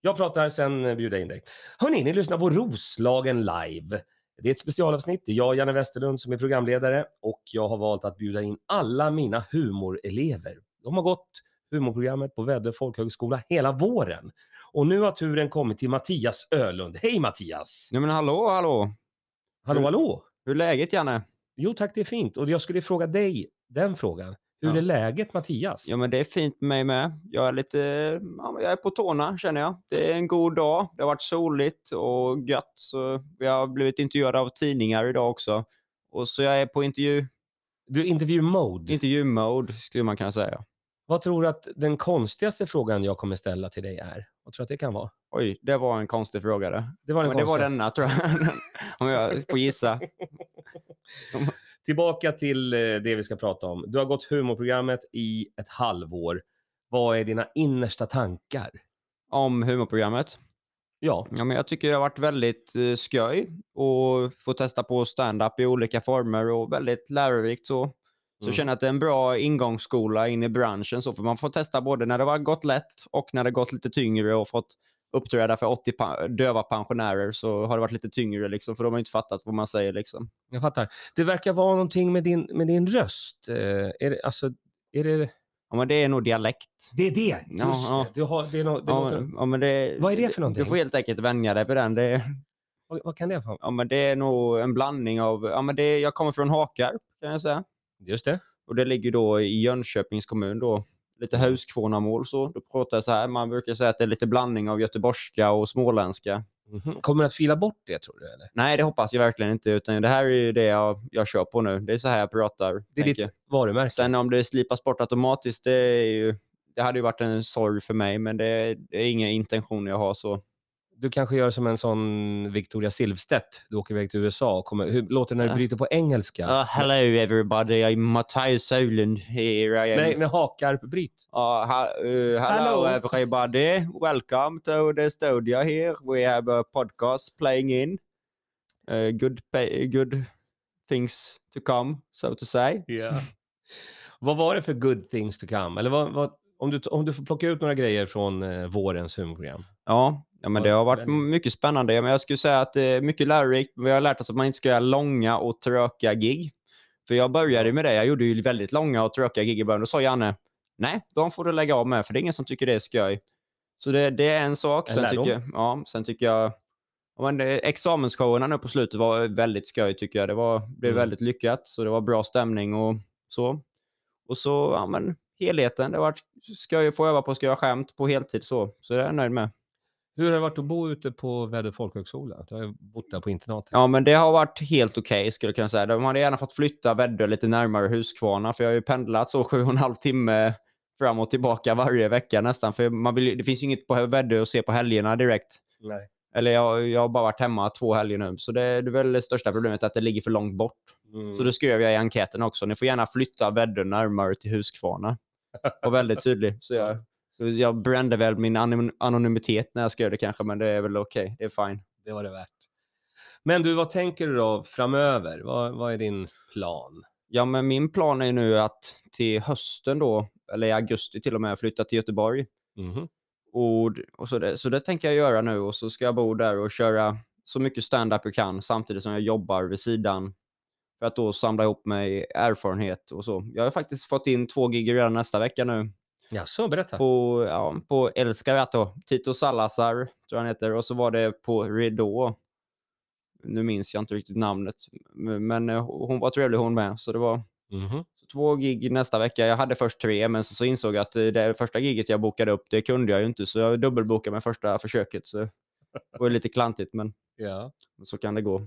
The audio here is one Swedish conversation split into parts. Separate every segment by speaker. Speaker 1: Jag pratar, sen eh, bjuder jag in dig. Hörni, ni lyssnar på Roslagen live. Det är ett specialavsnitt. Det är jag, Janne Westerlund, som är programledare och jag har valt att bjuda in alla mina humorelever. De har gått humorprogrammet på Väddö folkhögskola hela våren. Och nu har turen kommit till Mattias Ölund. Hej Mattias!
Speaker 2: Ja, men hallå, hallå.
Speaker 1: Hallå,
Speaker 2: Hur-
Speaker 1: hallå!
Speaker 2: Hur är läget Janne?
Speaker 1: Jo tack, det är fint. Och jag skulle fråga dig den frågan. Hur
Speaker 2: Ja.
Speaker 1: är läget Mattias?
Speaker 2: Ja, men det är fint med mig med. Jag är lite, ja, men jag är på tårna känner jag. Det är en god dag. Det har varit soligt och gött. Så vi har blivit intervjuade av tidningar idag också. Och så jag är på intervju,
Speaker 1: Du, intervju-mode.
Speaker 2: intervjumode skulle man kunna säga.
Speaker 1: Vad tror du att den konstigaste frågan jag kommer ställa till dig är? Vad tror du att det kan vara?
Speaker 2: Oj, det var en konstig fråga det.
Speaker 1: Det var den
Speaker 2: Men det var
Speaker 1: konstigaste.
Speaker 2: denna tror jag. Om jag får gissa.
Speaker 1: Tillbaka till eh, det vi ska prata om. Du har gått humorprogrammet i ett halvår. Vad är dina innersta tankar?
Speaker 2: Om humorprogrammet.
Speaker 1: Ja,
Speaker 2: Ja, men jag tycker det har varit väldigt eh, skoj och få testa på stand-up i olika former och väldigt lärorikt så. Så
Speaker 1: Mm.
Speaker 2: känner jag att det är en bra ingångsskola in i branschen så för man får testa både när det har gått lätt och när det har gått lite tyngre och fått uppträda för 80 pa- döva pensionärer så har det varit lite tyngre liksom för de har inte fattat vad man säger liksom.
Speaker 1: jag fattar. Det verkar vara någonting med din, med din röst. Eh, är det, alltså, är det...
Speaker 2: Ja, men det är nog dialekt.
Speaker 1: Det är det! Just
Speaker 2: Ja, ja.
Speaker 1: det. Du har, det är no, det
Speaker 2: Ja,
Speaker 1: låter,
Speaker 2: men, ja, men det,
Speaker 1: Vad är det för någonting?
Speaker 2: Du får helt enkelt vänja dig på den. Det, är-
Speaker 1: vad, vad kan det vara?
Speaker 2: ja, men det är nog en blandning av, ja, men det, jag kommer från Hakarp kan jag säga.
Speaker 1: Just det.
Speaker 2: Och det ligger då i Jönköpings kommun då. Lite
Speaker 1: Mm.
Speaker 2: huskvarnamål så. Då pratar jag så här. Man brukar säga att det är lite blandning av göteborgska och småländska.
Speaker 1: Mhm. Kommer du att fila bort det tror du? Eller?
Speaker 2: Nej, det hoppas jag verkligen inte. Utan det här är ju det jag, jag kör på nu. Det är så här jag pratar.
Speaker 1: Det är
Speaker 2: tänker
Speaker 1: ditt varumärke.
Speaker 2: jag. Sen om det slipas bort automatiskt, det, är ju, det hade ju varit en sorg för mig. Men det, det är inga intentioner jag har så.
Speaker 1: Du kanske gör som en sån Victoria Silvstedt. Du åker iväg till USA. Och kommer, hur låter det när du
Speaker 2: Ja.
Speaker 1: bryter på engelska?
Speaker 2: Uh, Äh. hello everybody, I'm Matthias Ölund here. I am.
Speaker 1: Nej, med hakarp-bryt.
Speaker 2: Uh, ha- uh,
Speaker 1: Hello.
Speaker 2: hello, everybody. Welcome to the studio here. We have a podcast playing in. Uh, good, pa- good things to come, so to say.
Speaker 1: vad var det för good things to come? Eller vad, vad, om, du, om du får plocka ut några grejer från eh, vårens humorprogram.
Speaker 2: Ja, ja men det har varit
Speaker 1: Väldigt.
Speaker 2: mycket spännande. Men jag skulle säga att det är mycket lärorikt. Vi har lärt oss att man inte ska göra långa och tråkiga gig. För jag började med det. Jag gjorde ju väldigt långa och tråkiga gig i början. Då sa Janne, nej, de får du lägga av med, för det är ingen som tycker det är skoj. Så det, det är en sak.
Speaker 1: En
Speaker 2: Sen
Speaker 1: lärdom.
Speaker 2: tycker, jag- ja, sen tycker jag... ja, Men det- examensshowerna nu på slutet var väldigt skoj tycker jag. Det var, blev
Speaker 1: Mm.
Speaker 2: väldigt lyckat, så det var bra stämning och så. Och så, ja men helheten. Det har varit skoj att få öva på att skriva skämt på heltid så. Så det är jag nöjd med.
Speaker 1: Hur har det varit att bo ute på Väddö folkhögskola? Du har ju bott där på internatet.
Speaker 2: Ja, men det har varit helt okej skulle jag kunna säga. De hade gärna fått flytta Väddö lite närmare Huskvarna, för jag har ju pendlat så sju och en halv timme fram och tillbaka varje vecka nästan. För man vill, ju- det finns ju inget på Väddö att se på helgerna direkt.
Speaker 1: Nej.
Speaker 2: Eller jag, jag har bara varit hemma två helger nu, så det, det är väl det största problemet att det ligger för långt bort.
Speaker 1: Mm.
Speaker 2: Så det skrev jag i enkäten också. Ni får gärna flytta Väddö närmare till Huskvarna. Och väldigt tydlig. Så jag, jag brände väl min anon- anonymitet när jag skrev det kanske, men det är väl okej. Det är fine.
Speaker 1: det var det värt. Men du, vad tänker du då framöver? Vad, vad är din plan?
Speaker 2: Ja, men min plan är ju nu att till hösten då, eller i augusti till och med, flytta till Göteborg. Mm-hmm.
Speaker 1: Mhm.
Speaker 2: Och, och så, det, så det tänker jag göra nu och så ska jag bo där och köra så mycket stand-up jag kan samtidigt som jag jobbar vid sidan för att då samla ihop mig erfarenhet och så. Jag har faktiskt fått in två gig redan nästa vecka nu
Speaker 1: Jaså, berätta.
Speaker 2: på, ja, på El Scavato, Tito Salazar tror jag han heter, och så var det på Redå. Nu minns jag inte riktigt namnet, men men, eh, hon var trevlig hon med, så det var
Speaker 1: Mhm.
Speaker 2: så två gig nästa vecka. Jag hade först tre, men så, så insåg jag att eh, det första giget jag bokade upp, det kunde jag ju inte. Så jag dubbelbokade med första försöket. Så det var ju lite klantigt, men
Speaker 1: Ja.
Speaker 2: så kan det gå.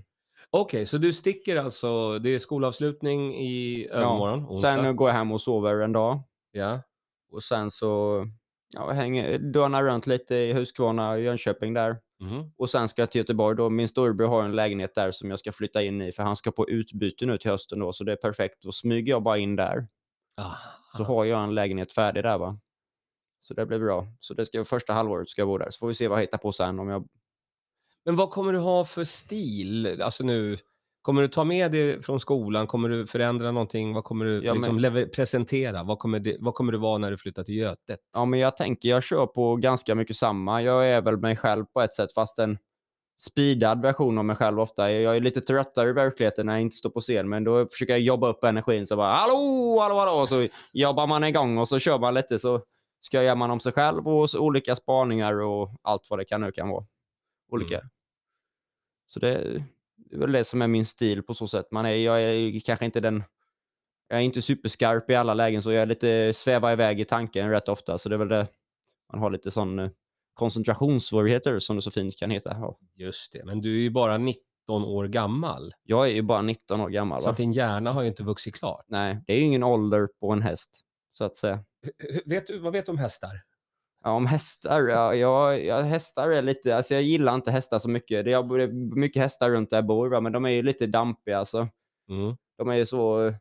Speaker 1: Okej, så du sticker alltså. Det är skolavslutning i övermorgon, onsdag.
Speaker 2: Sen eh, går jag hem och sover en dag.
Speaker 1: Ja.
Speaker 2: Och sen så ja, hänger, dönar runt lite i Huskvarna, Jönköping där.
Speaker 1: Mhm.
Speaker 2: Och sen ska jag till Göteborg då. Min storebror har en lägenhet där som jag ska flytta in i, för han ska på utbyte nu till hösten då. Så det är perfekt. Då smyger jag bara in där.
Speaker 1: Ah.
Speaker 2: så har jag en lägenhet färdig där va. Så det blir bra. Så det ska första halvåret ska jag bo där. Så får vi se vad jag hittar på sen om jag...
Speaker 1: Men vad kommer du ha för stil? Alltså nu, Kommer du ta med det från skolan? Kommer du förändra någonting? Vad kommer du
Speaker 2: Ja, men-
Speaker 1: liksom lever- presentera? Vad kommer, det, vad kommer du vara när du flyttar till Götet?
Speaker 2: Ja, men jag tänker jag kör på ganska mycket samma. Jag är väl mig själv på ett sätt, fast en speedad version av mig själv ofta. Jag är lite tröttare i verkligheten när jag inte står på scen, men då försöker jag jobba upp energin. Så bara hallå, hallå, hallå, och så jobbar man igång och så kör man lite. Så skojar man om sig själv och så olika spaningar och allt vad det kan nu kan vara. Olika.
Speaker 1: Mm.
Speaker 2: Så det är det är väl det som är min stil på så sätt. Man är, jag är ju kanske inte den jag är inte superskarp i alla lägen, så jag är lite svävar iväg i tanken rätt ofta. Så det är väl det. Man har lite sån eh, koncentrationssvårigheter som det så fint kan heta. Ja.
Speaker 1: Just det, men du är ju bara 19 år gammal.
Speaker 2: Jag är ju bara 19 år gammal.
Speaker 1: Så
Speaker 2: Va?
Speaker 1: att din hjärna har ju inte vuxit klart.
Speaker 2: Nej, det är ju ingen ålder på en häst, så att säga.
Speaker 1: Vet du, vad vet du om hästar?
Speaker 2: Ja, om hästar, ja, jag, jag, hästar är lite, alltså jag gillar inte hästar så mycket. Det jag- det är mycket hästar runt där jag bor, va? men de är ju lite dampiga. Alltså.
Speaker 1: Mm.
Speaker 2: De är ju så...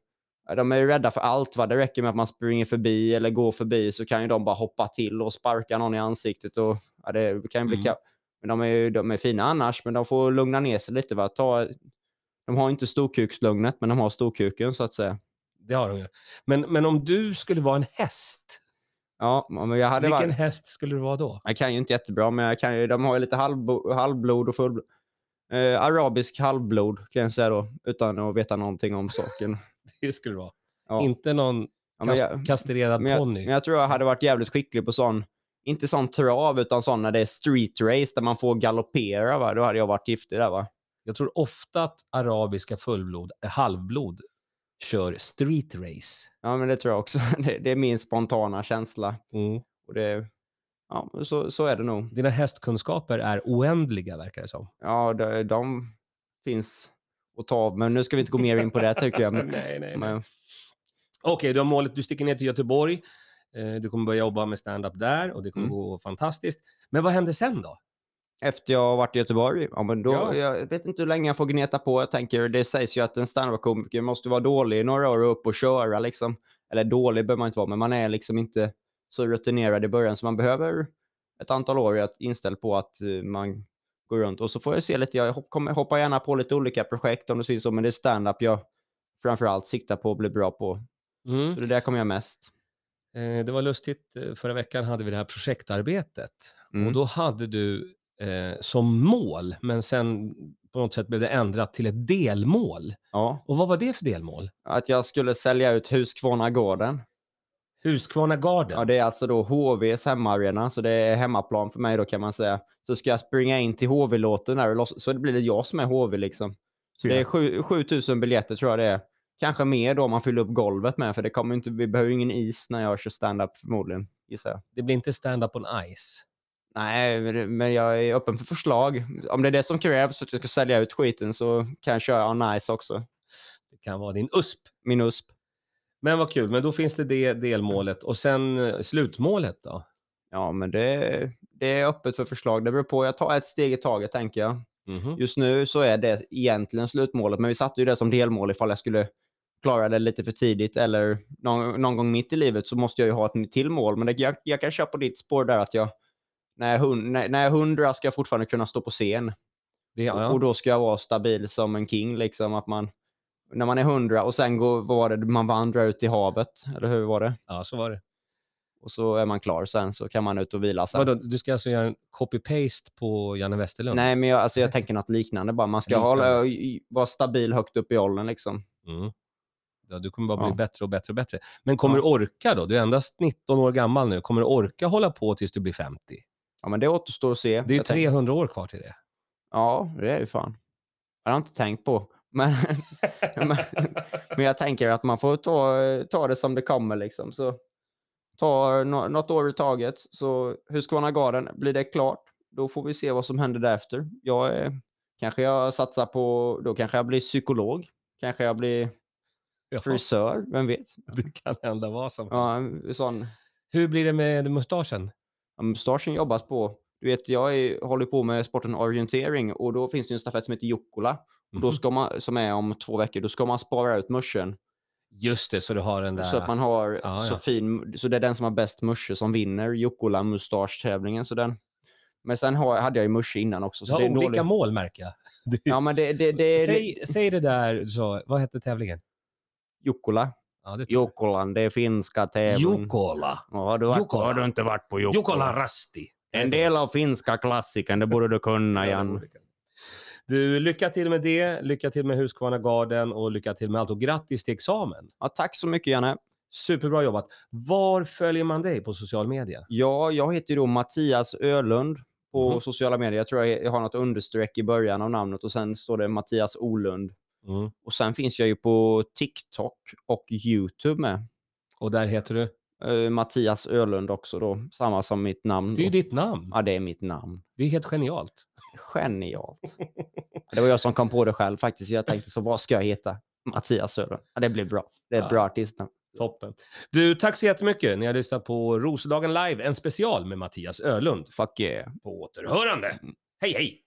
Speaker 2: ja, De är ju rädda för allt. Va? Det räcker med att man springer förbi eller går förbi så kan ju de bara hoppa till och sparka någon i ansiktet. Och, ja, det kan ju bli
Speaker 1: Mm.
Speaker 2: ka- men de är ju de är fina annars, men de får lugna ner sig lite. Va? Ta, de har inte storkukslugnet, men de har storkuken så att säga.
Speaker 1: Det har de ju. Men, men om du skulle vara en häst,
Speaker 2: Ja, men jag hade
Speaker 1: vilken
Speaker 2: varit,
Speaker 1: häst skulle du vara då?
Speaker 2: jag kan ju inte jättebra, men jag kan ju, de har ju lite halvbo, halvblod och fullblod. Eh, arabisk halvblod kan jag säga då, utan att veta någonting om saken.
Speaker 1: Det skulle du vara.
Speaker 2: Ja.
Speaker 1: Inte någon
Speaker 2: Ja, men
Speaker 1: kast,
Speaker 2: jag-
Speaker 1: kastrerad
Speaker 2: men jag,
Speaker 1: ponny.
Speaker 2: Men jag tror jag hade varit jävligt skicklig på sån, inte sån trav, utan sån när det är street race där man får galoppera. Va? Då hade jag varit giftig där va?
Speaker 1: Jag tror ofta att arabiska fullblod, eh, halvblod, kör street race.
Speaker 2: Ja, men det tror jag också. Det, det är min spontana känsla.
Speaker 1: Mm.
Speaker 2: Och det, ja, så, så är det nog.
Speaker 1: Dina hästkunskaper är oändliga verkar det som.
Speaker 2: Ja, de, de finns att ta av, men nu ska vi inte gå mer in på det tycker jag. Men,
Speaker 1: nej, nej,
Speaker 2: men,
Speaker 1: Okej, du har målet, du sticker ner till Göteborg. Eh, Du kommer börja jobba med stand-up där och det kommer
Speaker 2: Mm.
Speaker 1: gå fantastiskt. Men vad händer sen då?
Speaker 2: efter jag har varit i Göteborg, ja, men då,
Speaker 1: Ja.
Speaker 2: jag vet inte hur länge jag får gneta på. Jag tänker, det sägs ju att en standup-komiker måste vara dålig i några år och upp och köra. Liksom. Eller dålig behöver man inte vara, men man är liksom inte så rutinerad i början, så man behöver ett antal år att inställd på att eh, man går runt. Och så får jag se lite, jag hop- kommer- hoppar gärna på lite olika projekt om det syns så, men det är standup jag framförallt siktar på att bli bra på.
Speaker 1: Mm.
Speaker 2: Så det där kommer jag mest.
Speaker 1: Eh, Det var lustigt, eh, förra veckan hade vi det här projektarbetet.
Speaker 2: Mm.
Speaker 1: Och då hade du eh, som mål, men sen på något sätt blev det ändrat till ett delmål.
Speaker 2: Ja,
Speaker 1: Och vad var det för delmål?
Speaker 2: att jag skulle sälja ut Huskvarnagården.
Speaker 1: Huskvarna Garden.
Speaker 2: Ja, det är alltså då HVs hemmaarena, så det är hemmaplan för mig då kan man säga. Så ska jag springa in till HV-låten där och loss, så det blir det jag som är HV liksom. Så det är
Speaker 1: Ja.
Speaker 2: sju- 7000 biljetter tror jag det är. Kanske mer då om man fyller upp golvet med, för det kommer ju inte, vi behöver ju ingen is när jag kör stand-up förmodligen, gissar jag.
Speaker 1: Det blir inte stand-up on ice.
Speaker 2: Nej, men det- men jag är öppen för förslag. Om det är det som krävs för att jag ska sälja ut skiten så kan jag köra on ice också.
Speaker 1: Det kan vara din USP.
Speaker 2: Min USP.
Speaker 1: Men vad kul, men då finns det det delmålet och sen eh, slutmålet då?
Speaker 2: Ja, men det, det är öppet för förslag. Det beror på. Jag tar ett steg i taget tänker jag.
Speaker 1: Mhm.
Speaker 2: Just nu så är det egentligen slutmålet, men vi satte ju det som delmål ifall jag skulle klara det lite för tidigt eller någon, någon gång mitt i livet så måste jag ju ha ett nytt till mål. Men det, jag, jag kan köra på ditt spår där att jag när jag, är hun, när, när jag är hundra ska jag fortfarande kunna stå på scen
Speaker 1: Det, ja,
Speaker 2: och
Speaker 1: ja.
Speaker 2: då ska jag vara stabil som en king liksom att man när man är hundra och sen går, vad var det, man vandrar ut i havet eller hur var det?
Speaker 1: ja, så var det.
Speaker 2: Och så är man klar sen så kan man ut och vila sen.
Speaker 1: Vadå, du ska alltså göra en copy-paste på Janne Westerlund?
Speaker 2: Nej men jag, alltså, jag tänker något liknande bara. Man ska
Speaker 1: Liknande.
Speaker 2: hålla, vara stabil högt upp i åldern liksom.
Speaker 1: Mm. Ja, du kommer bara bli
Speaker 2: Ja.
Speaker 1: bättre och bättre och bättre. Men kommer
Speaker 2: Ja.
Speaker 1: du orka då? Du är endast 19 år gammal nu. Kommer du orka hålla på tills du blir 50?
Speaker 2: Ja, men det återstår att se.
Speaker 1: Det är ju
Speaker 2: Jag tänker-
Speaker 1: 300 år kvar till det.
Speaker 2: Ja, det är ju fan. Jag har jag inte tänkt på. Men, men, men jag tänker att man får ta, ta det som det kommer liksom. Så ta nå- något år i taget. Så Huskvarna Garden, blir det klart, då får vi se vad som händer därefter. Jag är, kanske jag satsar på, då kanske jag blir psykolog. Kanske jag blir
Speaker 1: Ja,
Speaker 2: frisör, vem vet?
Speaker 1: det kan hända vad som helst.
Speaker 2: Ja, en sån
Speaker 1: Hur blir det med mustaschen?
Speaker 2: Ja, men Mustaschen jobbas på. Du vet, jag är, håller på med sporten orientering och då finns det ju en stafett som heter Jukkola. Och Då
Speaker 1: Mhm.
Speaker 2: ska man, som är om två veckor, då ska man spara ut muschen.
Speaker 1: Mm. Just det, så du har den där.
Speaker 2: Så att man har
Speaker 1: Ja,
Speaker 2: så
Speaker 1: ja.
Speaker 2: fin, så det är den som har bäst musche som vinner Jukkola mustaschtävlingen. Så den, Men sen har, hade jag ju Musche innan också.
Speaker 1: Du
Speaker 2: Så
Speaker 1: har
Speaker 2: det är
Speaker 1: olika
Speaker 2: dåligt.
Speaker 1: mål märker jag. Det-
Speaker 2: Ja, men det, det, det är
Speaker 1: Säg, säg det där du sa. Vad hette tävlingen?
Speaker 2: Jukkola.
Speaker 1: Ja, det tror jag.
Speaker 2: Jukkolan, det är finska tävlan.
Speaker 1: Jukola.
Speaker 2: Har du, varit,
Speaker 1: Jukkola.
Speaker 2: har du inte varit på
Speaker 1: Jukola
Speaker 2: Jukkola?
Speaker 1: Rasti.
Speaker 2: En del av finska klassikern, det borde du kunna,
Speaker 1: Ja, det
Speaker 2: Jan.
Speaker 1: borde kunna. Du, lycka till med det. Lycka till med Husqvarna Garden och lycka till med allt. Och grattis till examen.
Speaker 2: Ja, tack så mycket, Janne.
Speaker 1: Superbra jobbat. Var följer man dig på social media?
Speaker 2: Ja, jag heter ju då Mattias Ölund på
Speaker 1: Mhm.
Speaker 2: sociala medier. Jag tror jag har något understreck i början av namnet och sen står det Mattias Olund.
Speaker 1: Mm.
Speaker 2: Och sen finns jag ju på TikTok och YouTube med.
Speaker 1: Och där heter du?
Speaker 2: Eh, Mattias Ölund också då, samma som mitt namn.
Speaker 1: Det är ju
Speaker 2: Då.
Speaker 1: ditt namn.
Speaker 2: Ja, det är mitt namn.
Speaker 1: Det är helt genialt.
Speaker 2: Genialt. det var jag som kom på det själv faktiskt. Jag tänkte så, vad ska jag heta? Mattias Ölund. Ja, det blir bra. Det är ett
Speaker 1: Ja.
Speaker 2: bra artistnamn.
Speaker 1: Toppen. Du, tack så jättemycket. Ni har lyssnat på Roslagen Live, en special med Mattias Ölund.
Speaker 2: Fuck yeah. Mm.
Speaker 1: På återhörande. Hej, hej!